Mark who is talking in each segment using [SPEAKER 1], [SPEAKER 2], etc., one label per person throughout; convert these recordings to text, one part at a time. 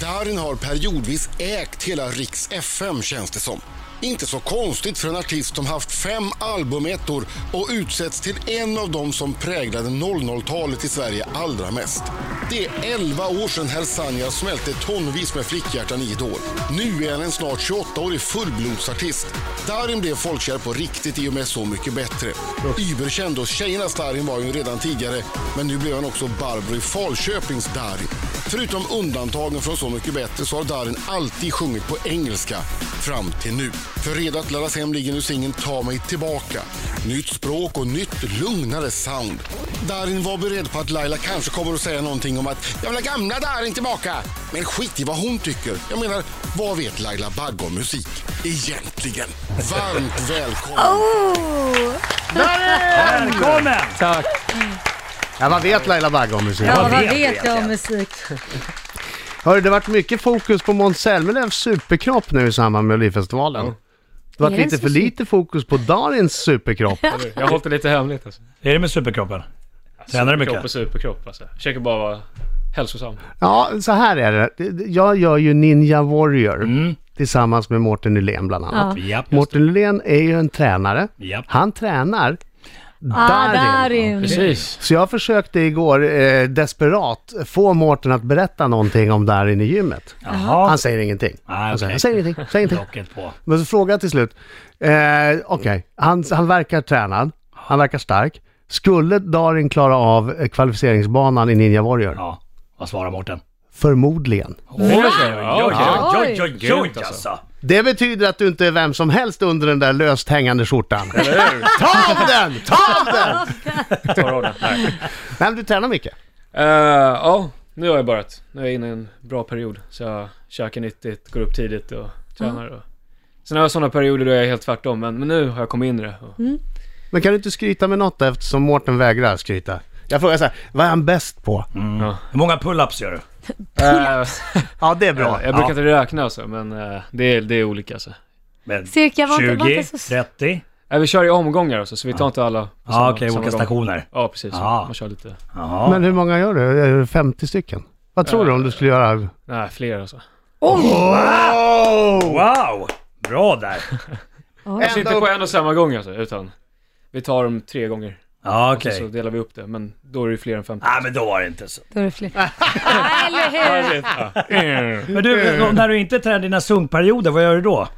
[SPEAKER 1] Darin har periodvis ägt hela Riks FM känns det som. Inte så konstigt för en artist som haft fem albumettor och utsätts till en av dem som präglade 00-talet i Sverige allra mest. Det är 11 år sedan herr Sanja smälte tonvis med flickhjärtan i Idol. Nu är han en snart 28-årig fullblodsartist. Darin blev folkkär på riktigt i och med Så mycket bättre. Überkänd och tjejernas Darin var ju redan tidigare, men nu blev han också Barbro i Falköpings Darin. Förutom undantagen från Så mycket bättre så har Darin alltid sjungit på engelska fram till nu. För redo att laddas hem ligger nu singeln Ta mig tillbaka. Nytt språk och nytt lugnare sound. Darin var beredd på att Laila kanske kommer att säga någonting om att jag vill ha gamla Darin tillbaka. Men skit i vad hon tycker. Jag menar, vad vet Laila Bagge om musik? Egentligen. Varmt välkommen.
[SPEAKER 2] Välkommen!
[SPEAKER 3] Tack.
[SPEAKER 4] Ja, vad vet Laila Bagge om musik?
[SPEAKER 5] Ja, vad
[SPEAKER 2] vet
[SPEAKER 5] vet,
[SPEAKER 2] du
[SPEAKER 5] jag
[SPEAKER 2] egentligen?
[SPEAKER 5] om musik?
[SPEAKER 4] Hörru, det har varit mycket fokus på Måns Zelmerlöws superkropp nu i samband med Melodifestivalen. Det
[SPEAKER 5] Är
[SPEAKER 4] har varit
[SPEAKER 5] den
[SPEAKER 4] lite
[SPEAKER 5] så
[SPEAKER 4] för lite fokus på Darins superkropp.
[SPEAKER 3] Jag har hållit det lite hemligt alltså.
[SPEAKER 2] Är det med superkroppen? Tränar du
[SPEAKER 3] Kropp och
[SPEAKER 2] mycket?
[SPEAKER 3] superkropp alltså. Jag Försöker bara vara hälsosam.
[SPEAKER 4] Ja, så här är det. Jag gör ju Ninja Warrior
[SPEAKER 5] Mm.
[SPEAKER 4] tillsammans med Mårten Nylén bland annat.
[SPEAKER 2] Japp.
[SPEAKER 4] Mårten Nylén är ju en tränare.
[SPEAKER 2] Japp.
[SPEAKER 4] Han tränar
[SPEAKER 5] Ah,
[SPEAKER 4] Darin.
[SPEAKER 5] Darin.
[SPEAKER 3] Precis.
[SPEAKER 4] Så jag försökte igår eh, desperat få Mårten att berätta någonting om Darin i gymmet.
[SPEAKER 2] Jaha.
[SPEAKER 4] Han säger ingenting.
[SPEAKER 2] Ah,
[SPEAKER 4] Han säger,
[SPEAKER 2] okej.
[SPEAKER 4] jag säger ingenting, säger ingenting.
[SPEAKER 2] Locket på.
[SPEAKER 4] Men så frågade jag till slut. Eh, Okej, han, han verkar tränad. Han verkar stark. Skulle Darin klara av eh, kvalificeringsbanan i Ninja Warrior?
[SPEAKER 2] Ja. Vad svarar Mårten?
[SPEAKER 4] Förmodligen.
[SPEAKER 3] Oj,
[SPEAKER 5] ja.
[SPEAKER 2] oj, oj, oj, oj,
[SPEAKER 3] Grymt, alltså.
[SPEAKER 2] alltså.
[SPEAKER 4] Det betyder att du inte är vem som helst under den där löst hängande skjortan. ta av den! Ta av den!
[SPEAKER 3] Tar av den. Nej.
[SPEAKER 4] Nej, men du tränar mycket.
[SPEAKER 3] Eh, Ja, nu har jag börjat. Nu är jag inne i en bra period. Så jag käkar nyttigt, går upp tidigt och tränar. Och... Sen har jag sådana perioder då jag är helt tvärtom. Men, men nu har jag kommit in i det. Och...
[SPEAKER 4] Men kan du inte skryta med något då, eftersom Mårten vägrar skryta? Jag frågar så här, vad är han bäst på?
[SPEAKER 2] Hur många pull-ups gör du?
[SPEAKER 3] Eh,
[SPEAKER 4] Ja, det är bra.
[SPEAKER 3] jag brukar inte räkna alltså, men eh, det, är, det är olika alltså.
[SPEAKER 2] Men
[SPEAKER 5] Cirka, var inte, var
[SPEAKER 2] 20,
[SPEAKER 5] inte så...
[SPEAKER 2] 30?
[SPEAKER 3] Eh, vi kör i omgångar alltså, så vi tar inte alla på
[SPEAKER 2] Ja, okej,
[SPEAKER 3] samma
[SPEAKER 2] olika
[SPEAKER 3] gång.
[SPEAKER 2] stationer.
[SPEAKER 3] Ja, precis.
[SPEAKER 2] Ja.
[SPEAKER 3] Man kör lite...
[SPEAKER 4] Ja.
[SPEAKER 2] Jaha.
[SPEAKER 4] Men hur många gör du? Är det 50 stycken? Vad tror du om du skulle göra?
[SPEAKER 3] Nej, fler alltså.
[SPEAKER 2] Wow! Bra där.
[SPEAKER 3] Kanske Alltså, inte på en och samma gång alltså, utan vi tar dem tre gånger.
[SPEAKER 2] Ja,
[SPEAKER 3] och
[SPEAKER 2] okej.
[SPEAKER 3] Så delar vi upp Alltså, det, men då är det fler än 50.
[SPEAKER 2] Nej, men då var det inte så.
[SPEAKER 5] Då är det fler. Ja, Eller hur?
[SPEAKER 2] Men du, när du inte tränar dina sunkperioder, vad gör du då?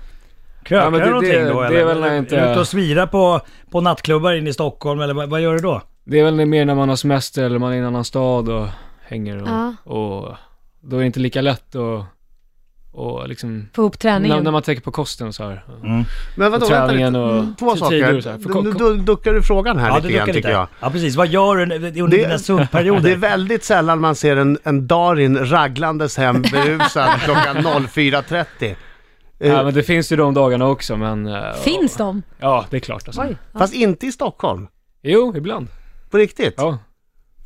[SPEAKER 2] Krökar
[SPEAKER 3] Ja, men
[SPEAKER 2] du
[SPEAKER 3] det-
[SPEAKER 2] någonting
[SPEAKER 3] det-
[SPEAKER 2] då
[SPEAKER 3] det är
[SPEAKER 2] eller?
[SPEAKER 3] väl när jag inte-
[SPEAKER 2] Är du ute och svira på, på nattklubbar inne i Stockholm eller vad, vad gör du då?
[SPEAKER 3] Det är väl mer när man har semester eller man är i en annan stad och hänger och,
[SPEAKER 5] Ja.
[SPEAKER 3] och då är det inte lika lätt och, och liksom
[SPEAKER 5] Få ihop
[SPEAKER 3] när, när
[SPEAKER 5] träningen.
[SPEAKER 3] man tänker på kosten och så här.
[SPEAKER 4] Mm. Men vadå,
[SPEAKER 3] Och
[SPEAKER 4] vänta lite. Mm,
[SPEAKER 3] träningen och
[SPEAKER 4] Två
[SPEAKER 3] tider och så här.
[SPEAKER 4] saker.
[SPEAKER 3] För ko-
[SPEAKER 4] Nu
[SPEAKER 3] ko-
[SPEAKER 4] du, duckar du frågan här lite
[SPEAKER 2] du duckar
[SPEAKER 4] grann tycker jag.
[SPEAKER 2] Ja, precis. Vad gör du under under dina
[SPEAKER 4] det är
[SPEAKER 2] sunkperioder?
[SPEAKER 4] väldigt sällan man ser en, en Darin raglandes hem berusad klockan 04.30. Eh,
[SPEAKER 3] ja, men det finns ju de dagarna också men... eh,
[SPEAKER 5] Finns de?
[SPEAKER 3] Ja, det är klart alltså.
[SPEAKER 5] Oj.
[SPEAKER 4] Fast inte i Stockholm.
[SPEAKER 3] Jo, ibland.
[SPEAKER 4] På riktigt.
[SPEAKER 3] Ja.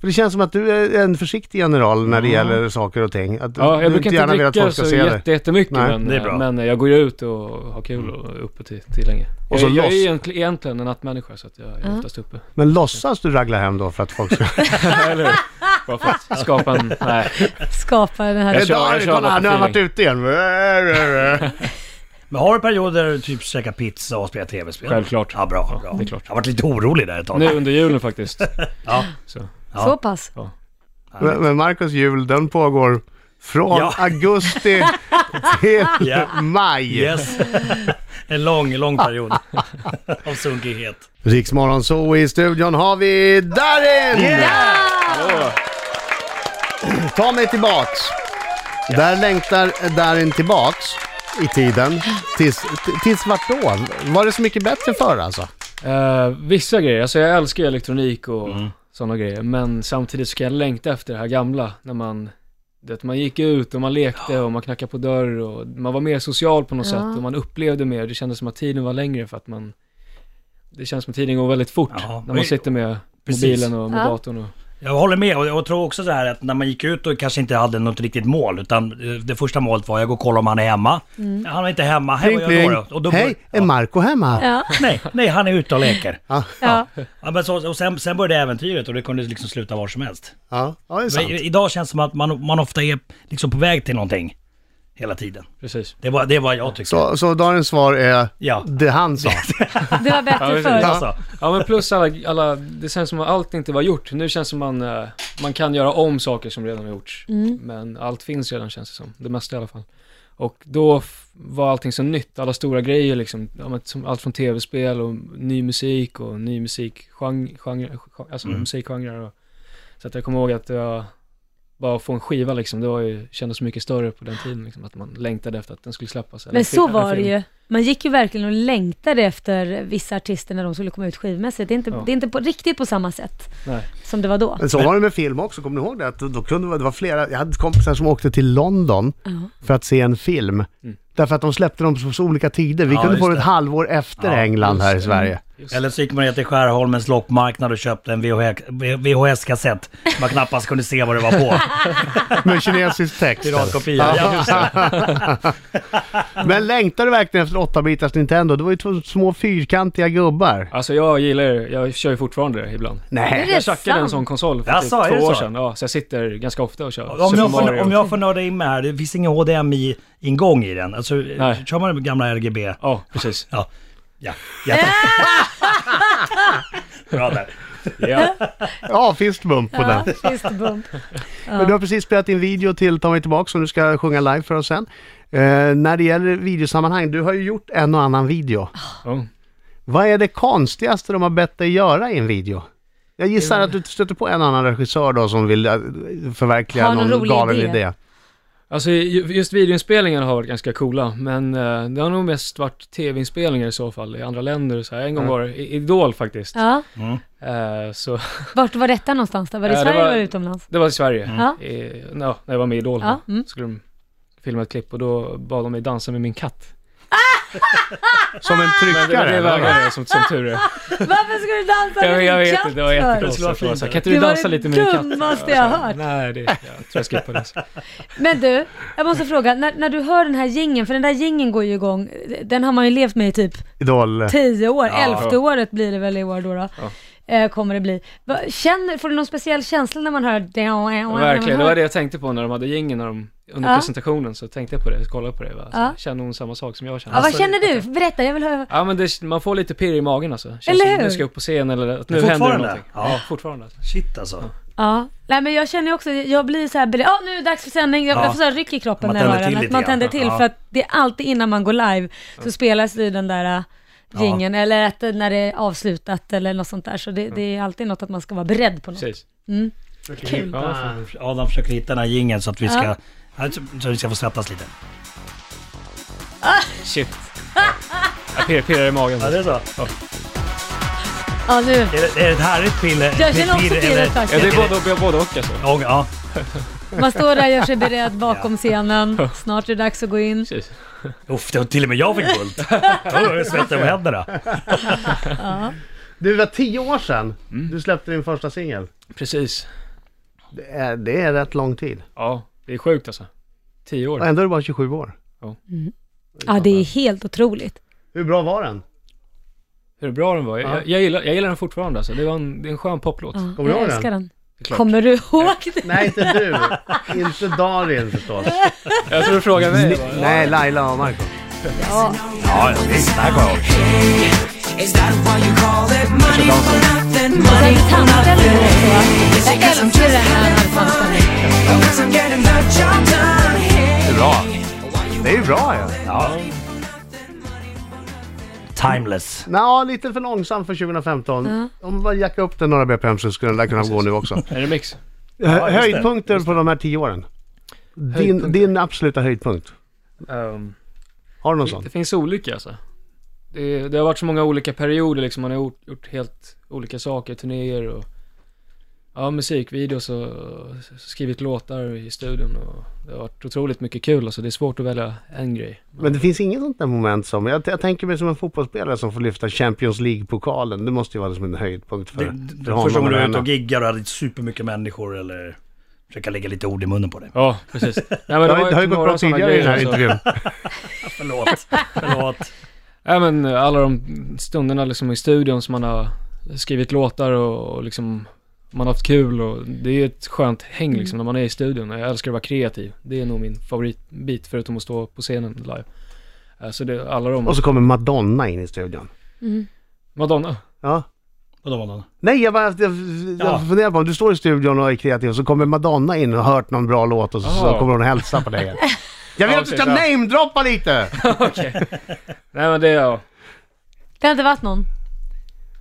[SPEAKER 4] För det känns som att du är en försiktig general när det gäller saker och ting. Att
[SPEAKER 3] ja
[SPEAKER 4] du
[SPEAKER 3] jag brukar
[SPEAKER 4] gärna
[SPEAKER 3] inte
[SPEAKER 4] vill att
[SPEAKER 3] dricka
[SPEAKER 4] folk ska
[SPEAKER 3] så
[SPEAKER 4] se dig.
[SPEAKER 3] jätte, jättemycket
[SPEAKER 4] Nej,
[SPEAKER 3] men, eh,
[SPEAKER 2] det är bra.
[SPEAKER 3] men jag går ju ut och har kul och är uppe till, till länge.
[SPEAKER 4] Mm. Och så
[SPEAKER 3] jag, jag är
[SPEAKER 4] loss.
[SPEAKER 3] egentligen, egentligen en nattmänniska så att jag är oftast uppe.
[SPEAKER 4] Men låtsas du ragla hem då för att folk ska...
[SPEAKER 3] Eller hur? Bara för att skapa en... Nej.
[SPEAKER 5] Skapa den här...
[SPEAKER 3] Jag kör- jag
[SPEAKER 4] Darin,
[SPEAKER 3] kör
[SPEAKER 4] kolla här,
[SPEAKER 3] alla
[SPEAKER 4] nu har han varit
[SPEAKER 3] feeling.
[SPEAKER 4] ute igen.
[SPEAKER 2] Men har du perioder där du typ käkar pizza och spelar tv-spel?
[SPEAKER 3] Självklart.
[SPEAKER 2] Ja, bra. bra.
[SPEAKER 3] det är klart.
[SPEAKER 2] Jag har varit lite orolig där ett tag.
[SPEAKER 3] Nu under julen faktiskt. ja. Så.
[SPEAKER 5] Så pass.
[SPEAKER 4] Men men Marcus jul, den pågår från
[SPEAKER 2] Ja.
[SPEAKER 4] augusti till
[SPEAKER 2] Ja.
[SPEAKER 4] maj.
[SPEAKER 2] Yes. en lång, lång period av sunkighet.
[SPEAKER 4] Riksmorgon så i studion har vi Darin! Ta mig tillbaks. Där längtar Darin tillbaks i tiden. Tills, t- tills vart då? Var det så mycket bättre förr alltså?
[SPEAKER 3] Eh, vissa grejer, alltså jag älskar ju elektronik och
[SPEAKER 2] Mm.
[SPEAKER 3] sådana grejer. Men samtidigt så kan jag längta efter det här gamla. När man, du vet, man gick ut och man lekte och man knackade på dörr och man var mer social på något
[SPEAKER 5] Ja.
[SPEAKER 3] sätt. Och man upplevde mer. Det kändes som att tiden var längre för att man, det känns som att tiden går väldigt fort.
[SPEAKER 2] Ja,
[SPEAKER 3] När man
[SPEAKER 2] och-
[SPEAKER 3] sitter med
[SPEAKER 2] Precis.
[SPEAKER 3] mobilen och med
[SPEAKER 5] Ja.
[SPEAKER 3] datorn och,
[SPEAKER 2] Jag håller med och jag tror också så här att när man gick ut och kanske inte hade något riktigt mål utan eh, det första målet var jag går och kollar om han är hemma. Han är inte hemma, hej
[SPEAKER 4] Pling,
[SPEAKER 2] vad gör jag då
[SPEAKER 4] pling.
[SPEAKER 2] då? Och då
[SPEAKER 4] Hej, är
[SPEAKER 2] bör- ja.
[SPEAKER 4] Marco hemma?
[SPEAKER 5] Ja.
[SPEAKER 2] Nej, nej, han är ute och leker.
[SPEAKER 4] Ja,
[SPEAKER 5] Ja.
[SPEAKER 2] Ja, men så, och sen, sen började äventyret och det kunde liksom sluta var som helst.
[SPEAKER 4] ja, ja det är
[SPEAKER 2] Men,
[SPEAKER 4] sant.
[SPEAKER 2] i- idag känns det som att man, man ofta är liksom på väg till någonting hela tiden.
[SPEAKER 3] Precis.
[SPEAKER 2] Det var, det var jag tycker.
[SPEAKER 4] Så, så dagens svar är
[SPEAKER 2] Ja.
[SPEAKER 4] det han sa.
[SPEAKER 5] Det var bättre
[SPEAKER 3] precis.
[SPEAKER 5] förr.
[SPEAKER 2] Alltså,
[SPEAKER 3] Ja men plus alla, alla, det känns som att allt inte var gjort. Nu känns det som att man, eh, man kan göra om saker som redan har gjorts.
[SPEAKER 5] Mm.
[SPEAKER 3] Men allt finns redan känns det som. Det mesta i alla fall. Och då f- var allting så nytt. Alla stora grejer liksom. Ja, men som Allt från tv-spel och ny musik och ny musikgenre, genre, genre- alltså musikgenrer. Och, så att jag kommer ihåg att jag bara få en skiva liksom, det var ju, kändes mycket större på den tiden liksom, att man längtade efter att den skulle släppas. eller
[SPEAKER 5] Men
[SPEAKER 3] en
[SPEAKER 5] så
[SPEAKER 3] fi- eller en
[SPEAKER 5] var det
[SPEAKER 3] film.
[SPEAKER 5] ju. Man gick ju verkligen och längtade efter vissa artister när de skulle komma ut skivmässigt. Det är inte,
[SPEAKER 3] Ja.
[SPEAKER 5] det är inte på, riktigt på samma sätt
[SPEAKER 3] Nej.
[SPEAKER 5] som det var då.
[SPEAKER 4] Men så var det med film också, kommer ni ihåg det? Att då kunde, det var flera, jag hade kompisar som åkte till London för att se en film. Därför att de släppte dem på så olika tider. Vi
[SPEAKER 2] Mm. Ja,
[SPEAKER 4] kunde få
[SPEAKER 2] just
[SPEAKER 4] det ett
[SPEAKER 2] det.
[SPEAKER 4] halvår efter
[SPEAKER 2] Ja,
[SPEAKER 4] England här i Sverige.
[SPEAKER 2] eller så gick man ner till Skärholmens loppmarknad och köpte en VHS-kassett. Man knappast kunde se vad det var på. Mm.
[SPEAKER 4] Med kinesisk text.
[SPEAKER 2] Piratkopia. Ja, just det.
[SPEAKER 4] Men längtar du verkligen efter 8-bitars Nintendo? Det var ju två små fyrkantiga gubbar.
[SPEAKER 3] Alltså jag gillar jag kör ju fortfarande det ibland.
[SPEAKER 5] Är
[SPEAKER 4] Nej.
[SPEAKER 5] det
[SPEAKER 3] Jag tjackade en sån
[SPEAKER 5] sant?
[SPEAKER 3] konsol för
[SPEAKER 2] Jaså, är
[SPEAKER 3] typ
[SPEAKER 2] det
[SPEAKER 3] två år
[SPEAKER 2] så?
[SPEAKER 3] sedan. Ja, så jag sitter ganska ofta och kör
[SPEAKER 2] Om
[SPEAKER 3] Super
[SPEAKER 2] jag, får,
[SPEAKER 3] Mario.
[SPEAKER 2] om jag får nörda in mig här, det finns ingen HDMI-ingång i den. Alltså,
[SPEAKER 3] Nej.
[SPEAKER 2] kör man den gamla RGB?
[SPEAKER 3] Ja, precis.
[SPEAKER 2] Ja. Ja. ja. Bra där.
[SPEAKER 3] Ja.
[SPEAKER 4] Ja, fistbump på den.
[SPEAKER 5] Ja, fistbump.
[SPEAKER 4] Men du har precis spelat in video till Ta mig tillbaka som du ska sjunga live för oss sen. Eh, när det gäller videosammanhang, du har ju gjort en och annan video.
[SPEAKER 3] Ja.
[SPEAKER 4] Vad är det konstigaste de har bett dig göra i en video? Jag gissar att du stöter på en annan regissör då som vill eh, förverkliga
[SPEAKER 5] Har någon
[SPEAKER 4] någon,
[SPEAKER 5] rolig
[SPEAKER 4] galen idé.
[SPEAKER 5] idé.
[SPEAKER 3] Alltså ju- just videoinspelningarna har varit ganska coola, men eh, det har nog mest varit tv-inspelningar i så fall i andra länder och så här. En gång var det i- Idol faktiskt.
[SPEAKER 5] Ja.
[SPEAKER 3] Eh, så
[SPEAKER 5] Vart var detta någonstans då? Var det i
[SPEAKER 3] Ja, det
[SPEAKER 5] Sverige
[SPEAKER 3] var-
[SPEAKER 5] eller var det utomlands?
[SPEAKER 3] det var i Sverige.
[SPEAKER 5] Ja.
[SPEAKER 3] I, ja, när jag var med i Idol
[SPEAKER 5] Ja,
[SPEAKER 3] då,
[SPEAKER 5] mm.
[SPEAKER 3] skulle de filma ett klipp och då bad de mig dansa med min katt.
[SPEAKER 4] Som en
[SPEAKER 3] Det var
[SPEAKER 4] tryckare?
[SPEAKER 3] det
[SPEAKER 4] eller?
[SPEAKER 3] vägrade jag som, som tur är.
[SPEAKER 5] Varför ska du dansa med
[SPEAKER 3] Jag, jag
[SPEAKER 5] din
[SPEAKER 3] vet
[SPEAKER 5] katt
[SPEAKER 3] inte, det var
[SPEAKER 5] för?
[SPEAKER 3] jättekonstigt.
[SPEAKER 2] Det skulle vara
[SPEAKER 3] Så
[SPEAKER 2] fint.
[SPEAKER 3] här, Kan inte
[SPEAKER 5] Det
[SPEAKER 3] du
[SPEAKER 5] var
[SPEAKER 3] dansa
[SPEAKER 5] det
[SPEAKER 3] lite med min katt?
[SPEAKER 5] dummaste jag
[SPEAKER 3] Ja, så här,
[SPEAKER 5] hört.
[SPEAKER 3] Nej, det, jag tror jag skippar det.
[SPEAKER 5] Men du, jag måste fråga, när, när du hör den här gängen, för den där gängen går ju igång, den har man ju levt med i typ
[SPEAKER 4] Idol?
[SPEAKER 5] tio år,
[SPEAKER 2] Ja.
[SPEAKER 5] elfte året blir det väl i år då, då. Eh, kommer det bli. Va, känner, får du någon speciell känsla när man hör det?
[SPEAKER 3] Verkligen, det var det jag tänkte på när de hade gingen när de, under
[SPEAKER 5] Ja.
[SPEAKER 3] presentationen så tänkte jag på det, kollade på det. Va? Så,
[SPEAKER 5] Ja.
[SPEAKER 3] Känner hon samma sak som jag känner?
[SPEAKER 5] Ja,
[SPEAKER 2] Alltså,
[SPEAKER 5] vad känner du? Berätta, jag vill höra.
[SPEAKER 3] Ja men det, man får lite pirr i magen alltså. Känns
[SPEAKER 5] Eller
[SPEAKER 3] som
[SPEAKER 5] hur?
[SPEAKER 3] Nu ska jag upp på scen eller att nu händer det
[SPEAKER 2] Fortfarande?
[SPEAKER 3] någonting.
[SPEAKER 2] Ja.
[SPEAKER 3] fortfarande. Alltså.
[SPEAKER 2] Shit alltså.
[SPEAKER 5] Ja, nej men jag känner ju också, jag blir så här, bele- ja nu är det dags för sändning, jag,
[SPEAKER 2] Ja.
[SPEAKER 5] jag får så här ryck i kroppen
[SPEAKER 2] Man
[SPEAKER 5] när jag
[SPEAKER 2] tänder
[SPEAKER 5] hör den,
[SPEAKER 2] till
[SPEAKER 5] att
[SPEAKER 2] lite
[SPEAKER 5] man
[SPEAKER 2] grann.
[SPEAKER 5] tänder till
[SPEAKER 2] Ja.
[SPEAKER 5] för att det är alltid innan man går live så spelas ju den där äh, jingeln eller att det- när det är avslutat eller något sånt där så det, det är alltid något att man ska vara beredd på något.
[SPEAKER 3] Precis.
[SPEAKER 5] Kul.
[SPEAKER 3] Ja, fan.
[SPEAKER 2] Adam försöker hitta den här jingeln så att vi ska,
[SPEAKER 5] Ja.
[SPEAKER 2] ja. så, så vi ska få svettas lite.
[SPEAKER 3] Shit. Jag pirrar, pirrar i magen.
[SPEAKER 2] Ja, det är så.
[SPEAKER 5] Ja nu,
[SPEAKER 2] Är det, är det ett härligt piller?
[SPEAKER 5] jag känner också pirret
[SPEAKER 3] Ja, det
[SPEAKER 5] faktiskt.
[SPEAKER 3] är både, både och alltså.
[SPEAKER 2] Ja, ja.
[SPEAKER 5] Man står där och gör sig beredd bakom scenen, snart är det dags att gå in.
[SPEAKER 3] Precis.
[SPEAKER 2] Uff, det var till och med jag fick bult. Jag svettas om händerna.
[SPEAKER 4] Du, det var tio år sedan
[SPEAKER 3] Mm.
[SPEAKER 4] du släppte din första singel.
[SPEAKER 3] Precis.
[SPEAKER 4] Det är, det är rätt lång tid.
[SPEAKER 3] Ja, det är sjukt alltså. Tio år.
[SPEAKER 4] Och ändå är du bara 27 år.
[SPEAKER 5] Ja det är helt otroligt.
[SPEAKER 4] Hur bra var den?
[SPEAKER 3] Hur bra den var. Jag, jag, jag, gillar, jag gillar den fortfarande alltså. Det, var en, det är en skön poplåt.
[SPEAKER 5] Ja,
[SPEAKER 4] Kommer
[SPEAKER 5] jag
[SPEAKER 4] du ihåg den?
[SPEAKER 5] älskar den.
[SPEAKER 3] Det är klart.
[SPEAKER 5] Kommer du ihåg det?
[SPEAKER 4] Nej, inte du. inte Darin förstås.
[SPEAKER 3] Jag tror du frågar mig. va?
[SPEAKER 4] Nej, Laila och Marco.
[SPEAKER 2] Ja, ja, visst. Det här kommer jag ihåg.
[SPEAKER 6] Is that why you call it money for nothing? Money
[SPEAKER 5] Den
[SPEAKER 6] for
[SPEAKER 5] tanten
[SPEAKER 6] nothing.
[SPEAKER 5] är
[SPEAKER 6] Is
[SPEAKER 5] så.
[SPEAKER 6] it
[SPEAKER 5] Jag älskar
[SPEAKER 6] 'cause I'm just
[SPEAKER 5] den här
[SPEAKER 6] having
[SPEAKER 5] halvdansen.
[SPEAKER 6] fun? Or 'cause I'm getting the job done.
[SPEAKER 4] Bra. Det är ju bra ju. Ja.
[SPEAKER 2] Timeless.
[SPEAKER 4] Nå, lite för långsam för 2015. Om man bara jackar upp den några BPM så skulle den där kunna gå nu också.
[SPEAKER 3] En remix.
[SPEAKER 4] Hö-
[SPEAKER 2] just det.
[SPEAKER 4] Höjdpunkter på de här tio åren? Din, din absoluta höjdpunkt.
[SPEAKER 3] Ehm,
[SPEAKER 4] Har du någon
[SPEAKER 3] Det
[SPEAKER 4] sån?
[SPEAKER 3] finns olika alltså. Det, det har varit så många olika perioder liksom. Man har gjort, gjort helt olika saker, turnéer och ja, musikvideos och skrivit låtar i studion och det har varit otroligt mycket kul alltså. Det är svårt att välja en grej.
[SPEAKER 4] Men det finns inget sånt där moment som, jag, jag tänker mig som en fotbollsspelare som får lyfta Champions League-pokalen. Det måste ju vara som en höjdpunkt för,
[SPEAKER 2] Det, det,
[SPEAKER 4] för honom.
[SPEAKER 2] första gången du
[SPEAKER 4] eller
[SPEAKER 2] var ute
[SPEAKER 4] henne.
[SPEAKER 2] och giggade och hade supermycket människor eller... Försöka lägga lite ord i munnen på dig.
[SPEAKER 3] Ja, precis. Nej, men
[SPEAKER 4] Det har, det har ju gått
[SPEAKER 3] några
[SPEAKER 4] bra
[SPEAKER 3] sådana
[SPEAKER 4] tidigare i den här
[SPEAKER 3] grejer, alltså.
[SPEAKER 4] intervjun.
[SPEAKER 2] Förlåt. Förlåt.
[SPEAKER 3] Ja men eh, alla de stunderna liksom i studion som man har skrivit låtar och, och liksom man har haft kul och det är ett skönt häng liksom när man är i studion. Jag älskar att vara kreativ. Det är nog min favoritbit förutom att stå på scenen live. Eh, Så det, alla de...
[SPEAKER 4] Och så kommer Madonna in i studion.
[SPEAKER 3] Madonna.
[SPEAKER 4] Ja.
[SPEAKER 2] Vadå Madonna?
[SPEAKER 4] Nej, jag, bara, jag, jag
[SPEAKER 2] Ja.
[SPEAKER 4] funderar på om du står i studion och är kreativ och så kommer Madonna in och har hört någon bra låt och så, så
[SPEAKER 3] Aha.
[SPEAKER 4] kommer hon och hälsa på dig. Jag vill
[SPEAKER 3] Ja,
[SPEAKER 4] att du
[SPEAKER 3] okej,
[SPEAKER 4] ska
[SPEAKER 3] ja.
[SPEAKER 4] namedroppa lite!
[SPEAKER 3] Okej. Nej men det är jag.
[SPEAKER 5] Det har inte varit någon?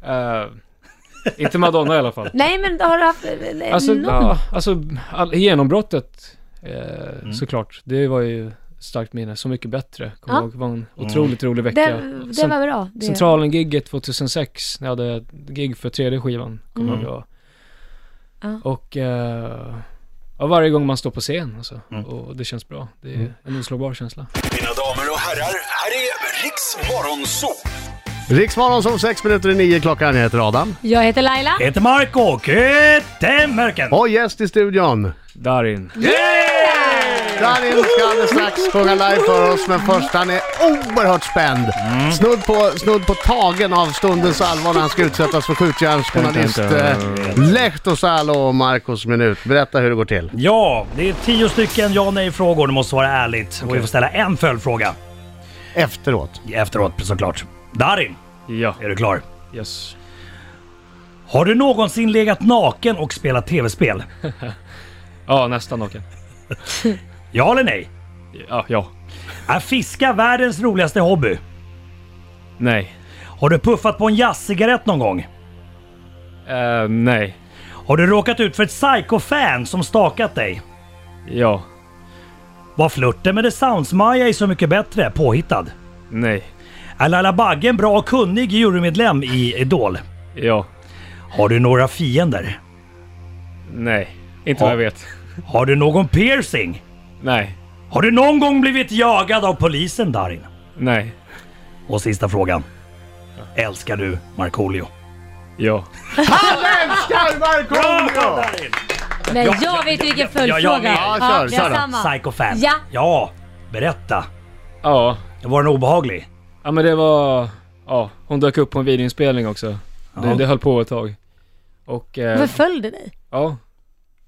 [SPEAKER 3] Eh, inte Madonna i alla fall.
[SPEAKER 5] Nej men har du haft eh,
[SPEAKER 3] Alltså,
[SPEAKER 5] någon?
[SPEAKER 3] ja, alltså all, genombrottet eh,
[SPEAKER 4] Mm.
[SPEAKER 3] såklart. Det var ju starkt minne. Så mycket bättre. Kommer
[SPEAKER 5] Ja.
[SPEAKER 3] ihåg. Det var en
[SPEAKER 4] Mm.
[SPEAKER 3] otroligt rolig vecka.
[SPEAKER 5] det, det
[SPEAKER 3] Sen-
[SPEAKER 5] var bra. Det.
[SPEAKER 3] Centralen-gigget 2006, när jag hade ett gig för tredje skivan, kommer jag ihåg.
[SPEAKER 5] Mm. Ja.
[SPEAKER 3] Och eh, ja, varje gång man står på scen alltså, och det känns bra. Det är en oslagbar känsla.
[SPEAKER 7] Mina damer och herrar, här är Riks Morgonzoo!
[SPEAKER 4] Riksmorgon som sex minuter i nio klockan. Jag heter Adam.
[SPEAKER 5] Jag heter Laila.
[SPEAKER 2] Jag heter Marco Köttemörken.
[SPEAKER 4] Och gäst i studion.
[SPEAKER 3] Darin.
[SPEAKER 4] Darin ska alldeles strax sjunga live för oss, men först han är oerhört spänd.
[SPEAKER 3] Mm.
[SPEAKER 4] Snudd, på, snudd på tagen av stundens allvar när han ska utsättas för skjutjärnsjournalist eh, Lehtosalo och Marcos minut. Berätta hur det går till.
[SPEAKER 2] Ja, det är tio stycken ja nej-frågor. Du måste svara ärligt. Och vi får ställa en följdfråga
[SPEAKER 4] Efteråt.
[SPEAKER 2] efteråt såklart. Darin,
[SPEAKER 3] Ja,
[SPEAKER 2] är du klar?
[SPEAKER 3] yes.
[SPEAKER 2] Har du någonsin legat naken och spelat tv-spel?
[SPEAKER 3] Ja, nästan naken.
[SPEAKER 2] Ja eller nej?
[SPEAKER 3] Ja, ja.
[SPEAKER 2] Är fiska världens roligaste hobby?
[SPEAKER 3] Nej.
[SPEAKER 2] Har du puffat på en jazzcigarett någon gång?
[SPEAKER 3] Eh, nej.
[SPEAKER 2] Har du råkat ut för ett psycho-fan som stakat dig?
[SPEAKER 3] Ja.
[SPEAKER 2] Var flörten med The Sounds-Maja i Så Mycket Bättre påhittad?
[SPEAKER 3] Nej.
[SPEAKER 2] Är Laila Bagge en bra och kunnig jurymedlem i Idol?
[SPEAKER 3] Ja.
[SPEAKER 2] Har du några fiender?
[SPEAKER 3] Nej. Inte
[SPEAKER 2] Ja.
[SPEAKER 3] vad jag vet.
[SPEAKER 2] Har du någon piercing?
[SPEAKER 3] Nej.
[SPEAKER 2] Har du någon gång blivit jagad av polisen Darin?
[SPEAKER 3] Nej.
[SPEAKER 2] Och sista frågan. Älskar du Markoolio?
[SPEAKER 3] Ja.
[SPEAKER 4] Älskar Markoolio!
[SPEAKER 2] Darin!
[SPEAKER 5] Men
[SPEAKER 2] Ja, ja,
[SPEAKER 5] jag vet
[SPEAKER 2] ja,
[SPEAKER 5] vilken
[SPEAKER 2] ja, ja, jag
[SPEAKER 5] följdfråga.
[SPEAKER 2] vet.
[SPEAKER 4] Ja, kör,
[SPEAKER 5] vi har
[SPEAKER 4] kör då.
[SPEAKER 5] samma.
[SPEAKER 2] Psycho-fan.
[SPEAKER 5] Ja.
[SPEAKER 2] ja! Berätta.
[SPEAKER 3] Ja.
[SPEAKER 2] Var den obehaglig?
[SPEAKER 3] Ja men det var... Ja, hon dök upp på en videoinspelning också.
[SPEAKER 2] Ja.
[SPEAKER 3] Det, det höll på ett tag. Och... eh,
[SPEAKER 5] Förföljde dig?
[SPEAKER 3] ja.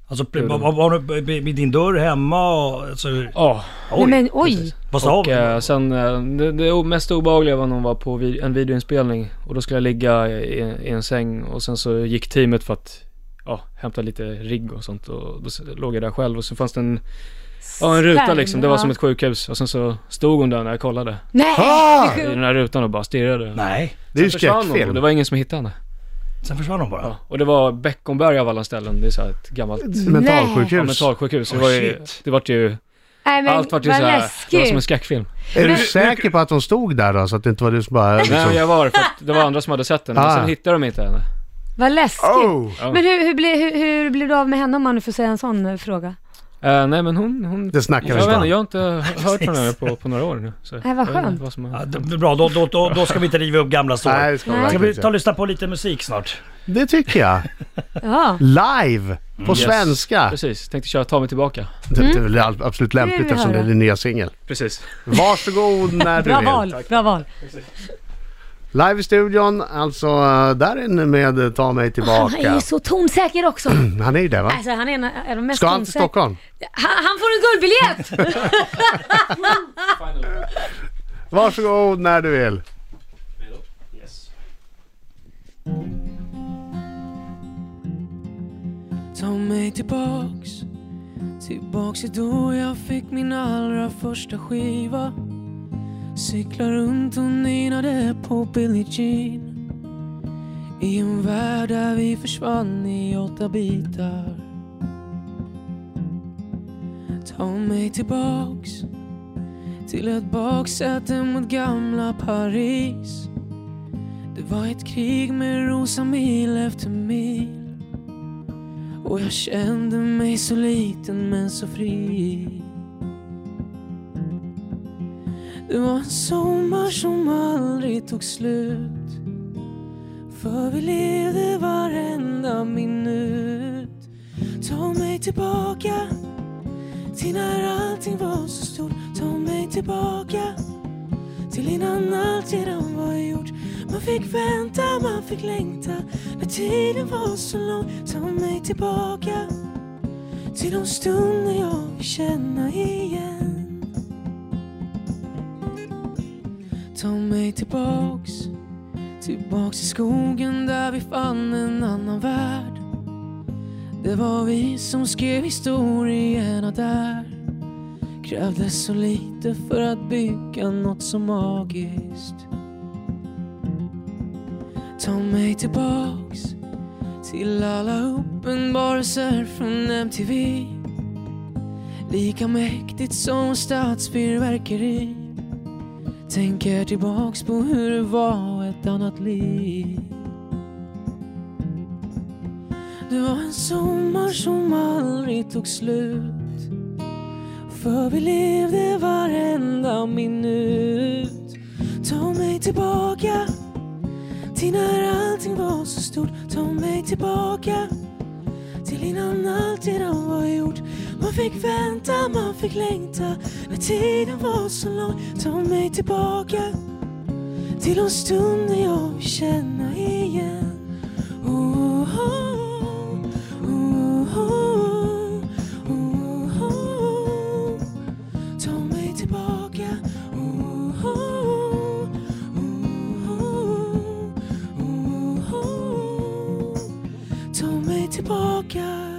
[SPEAKER 2] Alltså pl- var, var, var du b- vid din dörr hemma och... Alltså,
[SPEAKER 3] Ja.
[SPEAKER 5] Nej,
[SPEAKER 2] oj,
[SPEAKER 5] men oj!
[SPEAKER 2] vad sa
[SPEAKER 3] Och eh, sen, eh, det, det o- mest obehagliga var när hon var på vid, en videoinspelning och då skulle jag ligga i, i en säng och sen så gick teamet för att ja, hämta lite rigg och sånt och då s- låg jag där själv och så fanns det en, ja, en ruta
[SPEAKER 5] Skärm,
[SPEAKER 3] liksom, det var
[SPEAKER 5] ja.
[SPEAKER 3] som ett sjukhus och sen så stod hon där när jag kollade
[SPEAKER 5] Nej!
[SPEAKER 4] Ah!
[SPEAKER 3] i den här rutan och bara stirrade.
[SPEAKER 2] Nej,
[SPEAKER 4] Det är ju
[SPEAKER 3] Sen försvann hon och
[SPEAKER 4] skräckfilm.
[SPEAKER 3] det var ingen som hittade henne.
[SPEAKER 2] sen försvann hon bara.
[SPEAKER 3] Ja. Och det var Beckomberga av alla ställen, det är så här ett gammalt ja,
[SPEAKER 4] Mentalsjukhus.
[SPEAKER 3] mentalsjukhus. Det
[SPEAKER 2] Oh,
[SPEAKER 3] var ju,
[SPEAKER 2] shit.
[SPEAKER 3] det vart ju,
[SPEAKER 5] Nej, men
[SPEAKER 3] allt vart ju
[SPEAKER 5] vad
[SPEAKER 3] så här, det var
[SPEAKER 5] läskigt.
[SPEAKER 3] som en skräckfilm.
[SPEAKER 4] Är du säker på att hon stod där då? Så att det inte var du som bara...
[SPEAKER 3] Nej
[SPEAKER 4] Liksom...
[SPEAKER 3] jag var det, för att det var andra som hade sett den, men
[SPEAKER 4] Ah.
[SPEAKER 3] sen hittade de inte henne.
[SPEAKER 5] Vad läskigt.
[SPEAKER 4] Oh!
[SPEAKER 3] Ja.
[SPEAKER 5] Men hur, hur, blev, hur, hur blev du av med henne om man nu får säga en sån eh, fråga?
[SPEAKER 3] Eh, nej men hon, hon
[SPEAKER 4] Det snackar
[SPEAKER 3] jag,
[SPEAKER 4] vi
[SPEAKER 3] vet
[SPEAKER 4] stan.
[SPEAKER 3] inte, jag har inte hört från henne på, på några år nu. Så.
[SPEAKER 5] Nej, Äh, vad
[SPEAKER 3] jag vet inte
[SPEAKER 5] skönt.
[SPEAKER 3] Vad som
[SPEAKER 2] Ja,
[SPEAKER 3] har,
[SPEAKER 2] det, det är bra, då, då, då, då ska vi inte riva upp gamla sår.
[SPEAKER 4] Nej, det ska
[SPEAKER 5] Nej.
[SPEAKER 4] man
[SPEAKER 2] Ska vi ta
[SPEAKER 4] verkligen
[SPEAKER 2] och
[SPEAKER 4] inte.
[SPEAKER 2] lyssna på lite musik snart?
[SPEAKER 4] Det tycker jag.
[SPEAKER 5] Ja.
[SPEAKER 4] Live! På svenska.
[SPEAKER 3] precis, tänkte köra Ta mig tillbaka.
[SPEAKER 4] Det det är väl all- absolut
[SPEAKER 5] vill
[SPEAKER 4] lämpligt
[SPEAKER 5] vi
[SPEAKER 4] eftersom det är
[SPEAKER 5] höra.
[SPEAKER 4] din nya singel.
[SPEAKER 3] Precis.
[SPEAKER 4] Varsågod när du
[SPEAKER 5] Bra
[SPEAKER 4] vill.
[SPEAKER 5] val, bra val.
[SPEAKER 4] Live i studion, alltså eh, där inne med eh, Ta mig
[SPEAKER 5] Han är ju
[SPEAKER 4] tillbaka.
[SPEAKER 5] så tonsäker också.
[SPEAKER 4] Han är ju det va?
[SPEAKER 5] Alltså han är en av de mest
[SPEAKER 4] Ska han till
[SPEAKER 5] tonsäkra-
[SPEAKER 4] Stockholm?
[SPEAKER 5] Han, han får en guldbiljett!
[SPEAKER 4] Varsågod när du vill.
[SPEAKER 6] Ta mig tillbaks Tillbaks till då jag fick min allra första skiva Cyklar runt och nynade på Billie Jean I en värld där vi försvann i åtta bitar Ta mig tillbaks Till ett baksäte mot gamla Paris Det var ett krig med rosa mil efter mil Och jag kände mig så liten men så fri Det var en sommar som aldrig tog slut För vi levde varenda minut Ta mig tillbaka till när allting var så stort Ta mig tillbaka till innan allt redan var gjort Man fick vänta, man fick längta när tiden var så lång Ta mig tillbaka till de stunder jag vill känna igen Ta mig tillbaks, tillbaks till skogen där vi fann en annan värld Det var vi som skrev historierna där Krävdes så lite för att bygga något så magiskt Ta mig tillbaks till alla uppenbarelser från MTV Lika mäktigt som statsfyrverkeri Tänker tillbaks på hur det var ett annat liv Det var en sommar som aldrig tog slut för vi levde varenda minut Ta mig tillbaka till när allting var så stort Ta mig tillbaka till innan allt redan var gjort Man fick vänta, man fick längta när tiden var så lång Ta mig tillbaka till de stunder jag vill känna igen Oh, oh, oh, oh, oh, oh. Ta mig tillbaka oh, oh, oh, oh, oh, oh. Ta mig tillbaka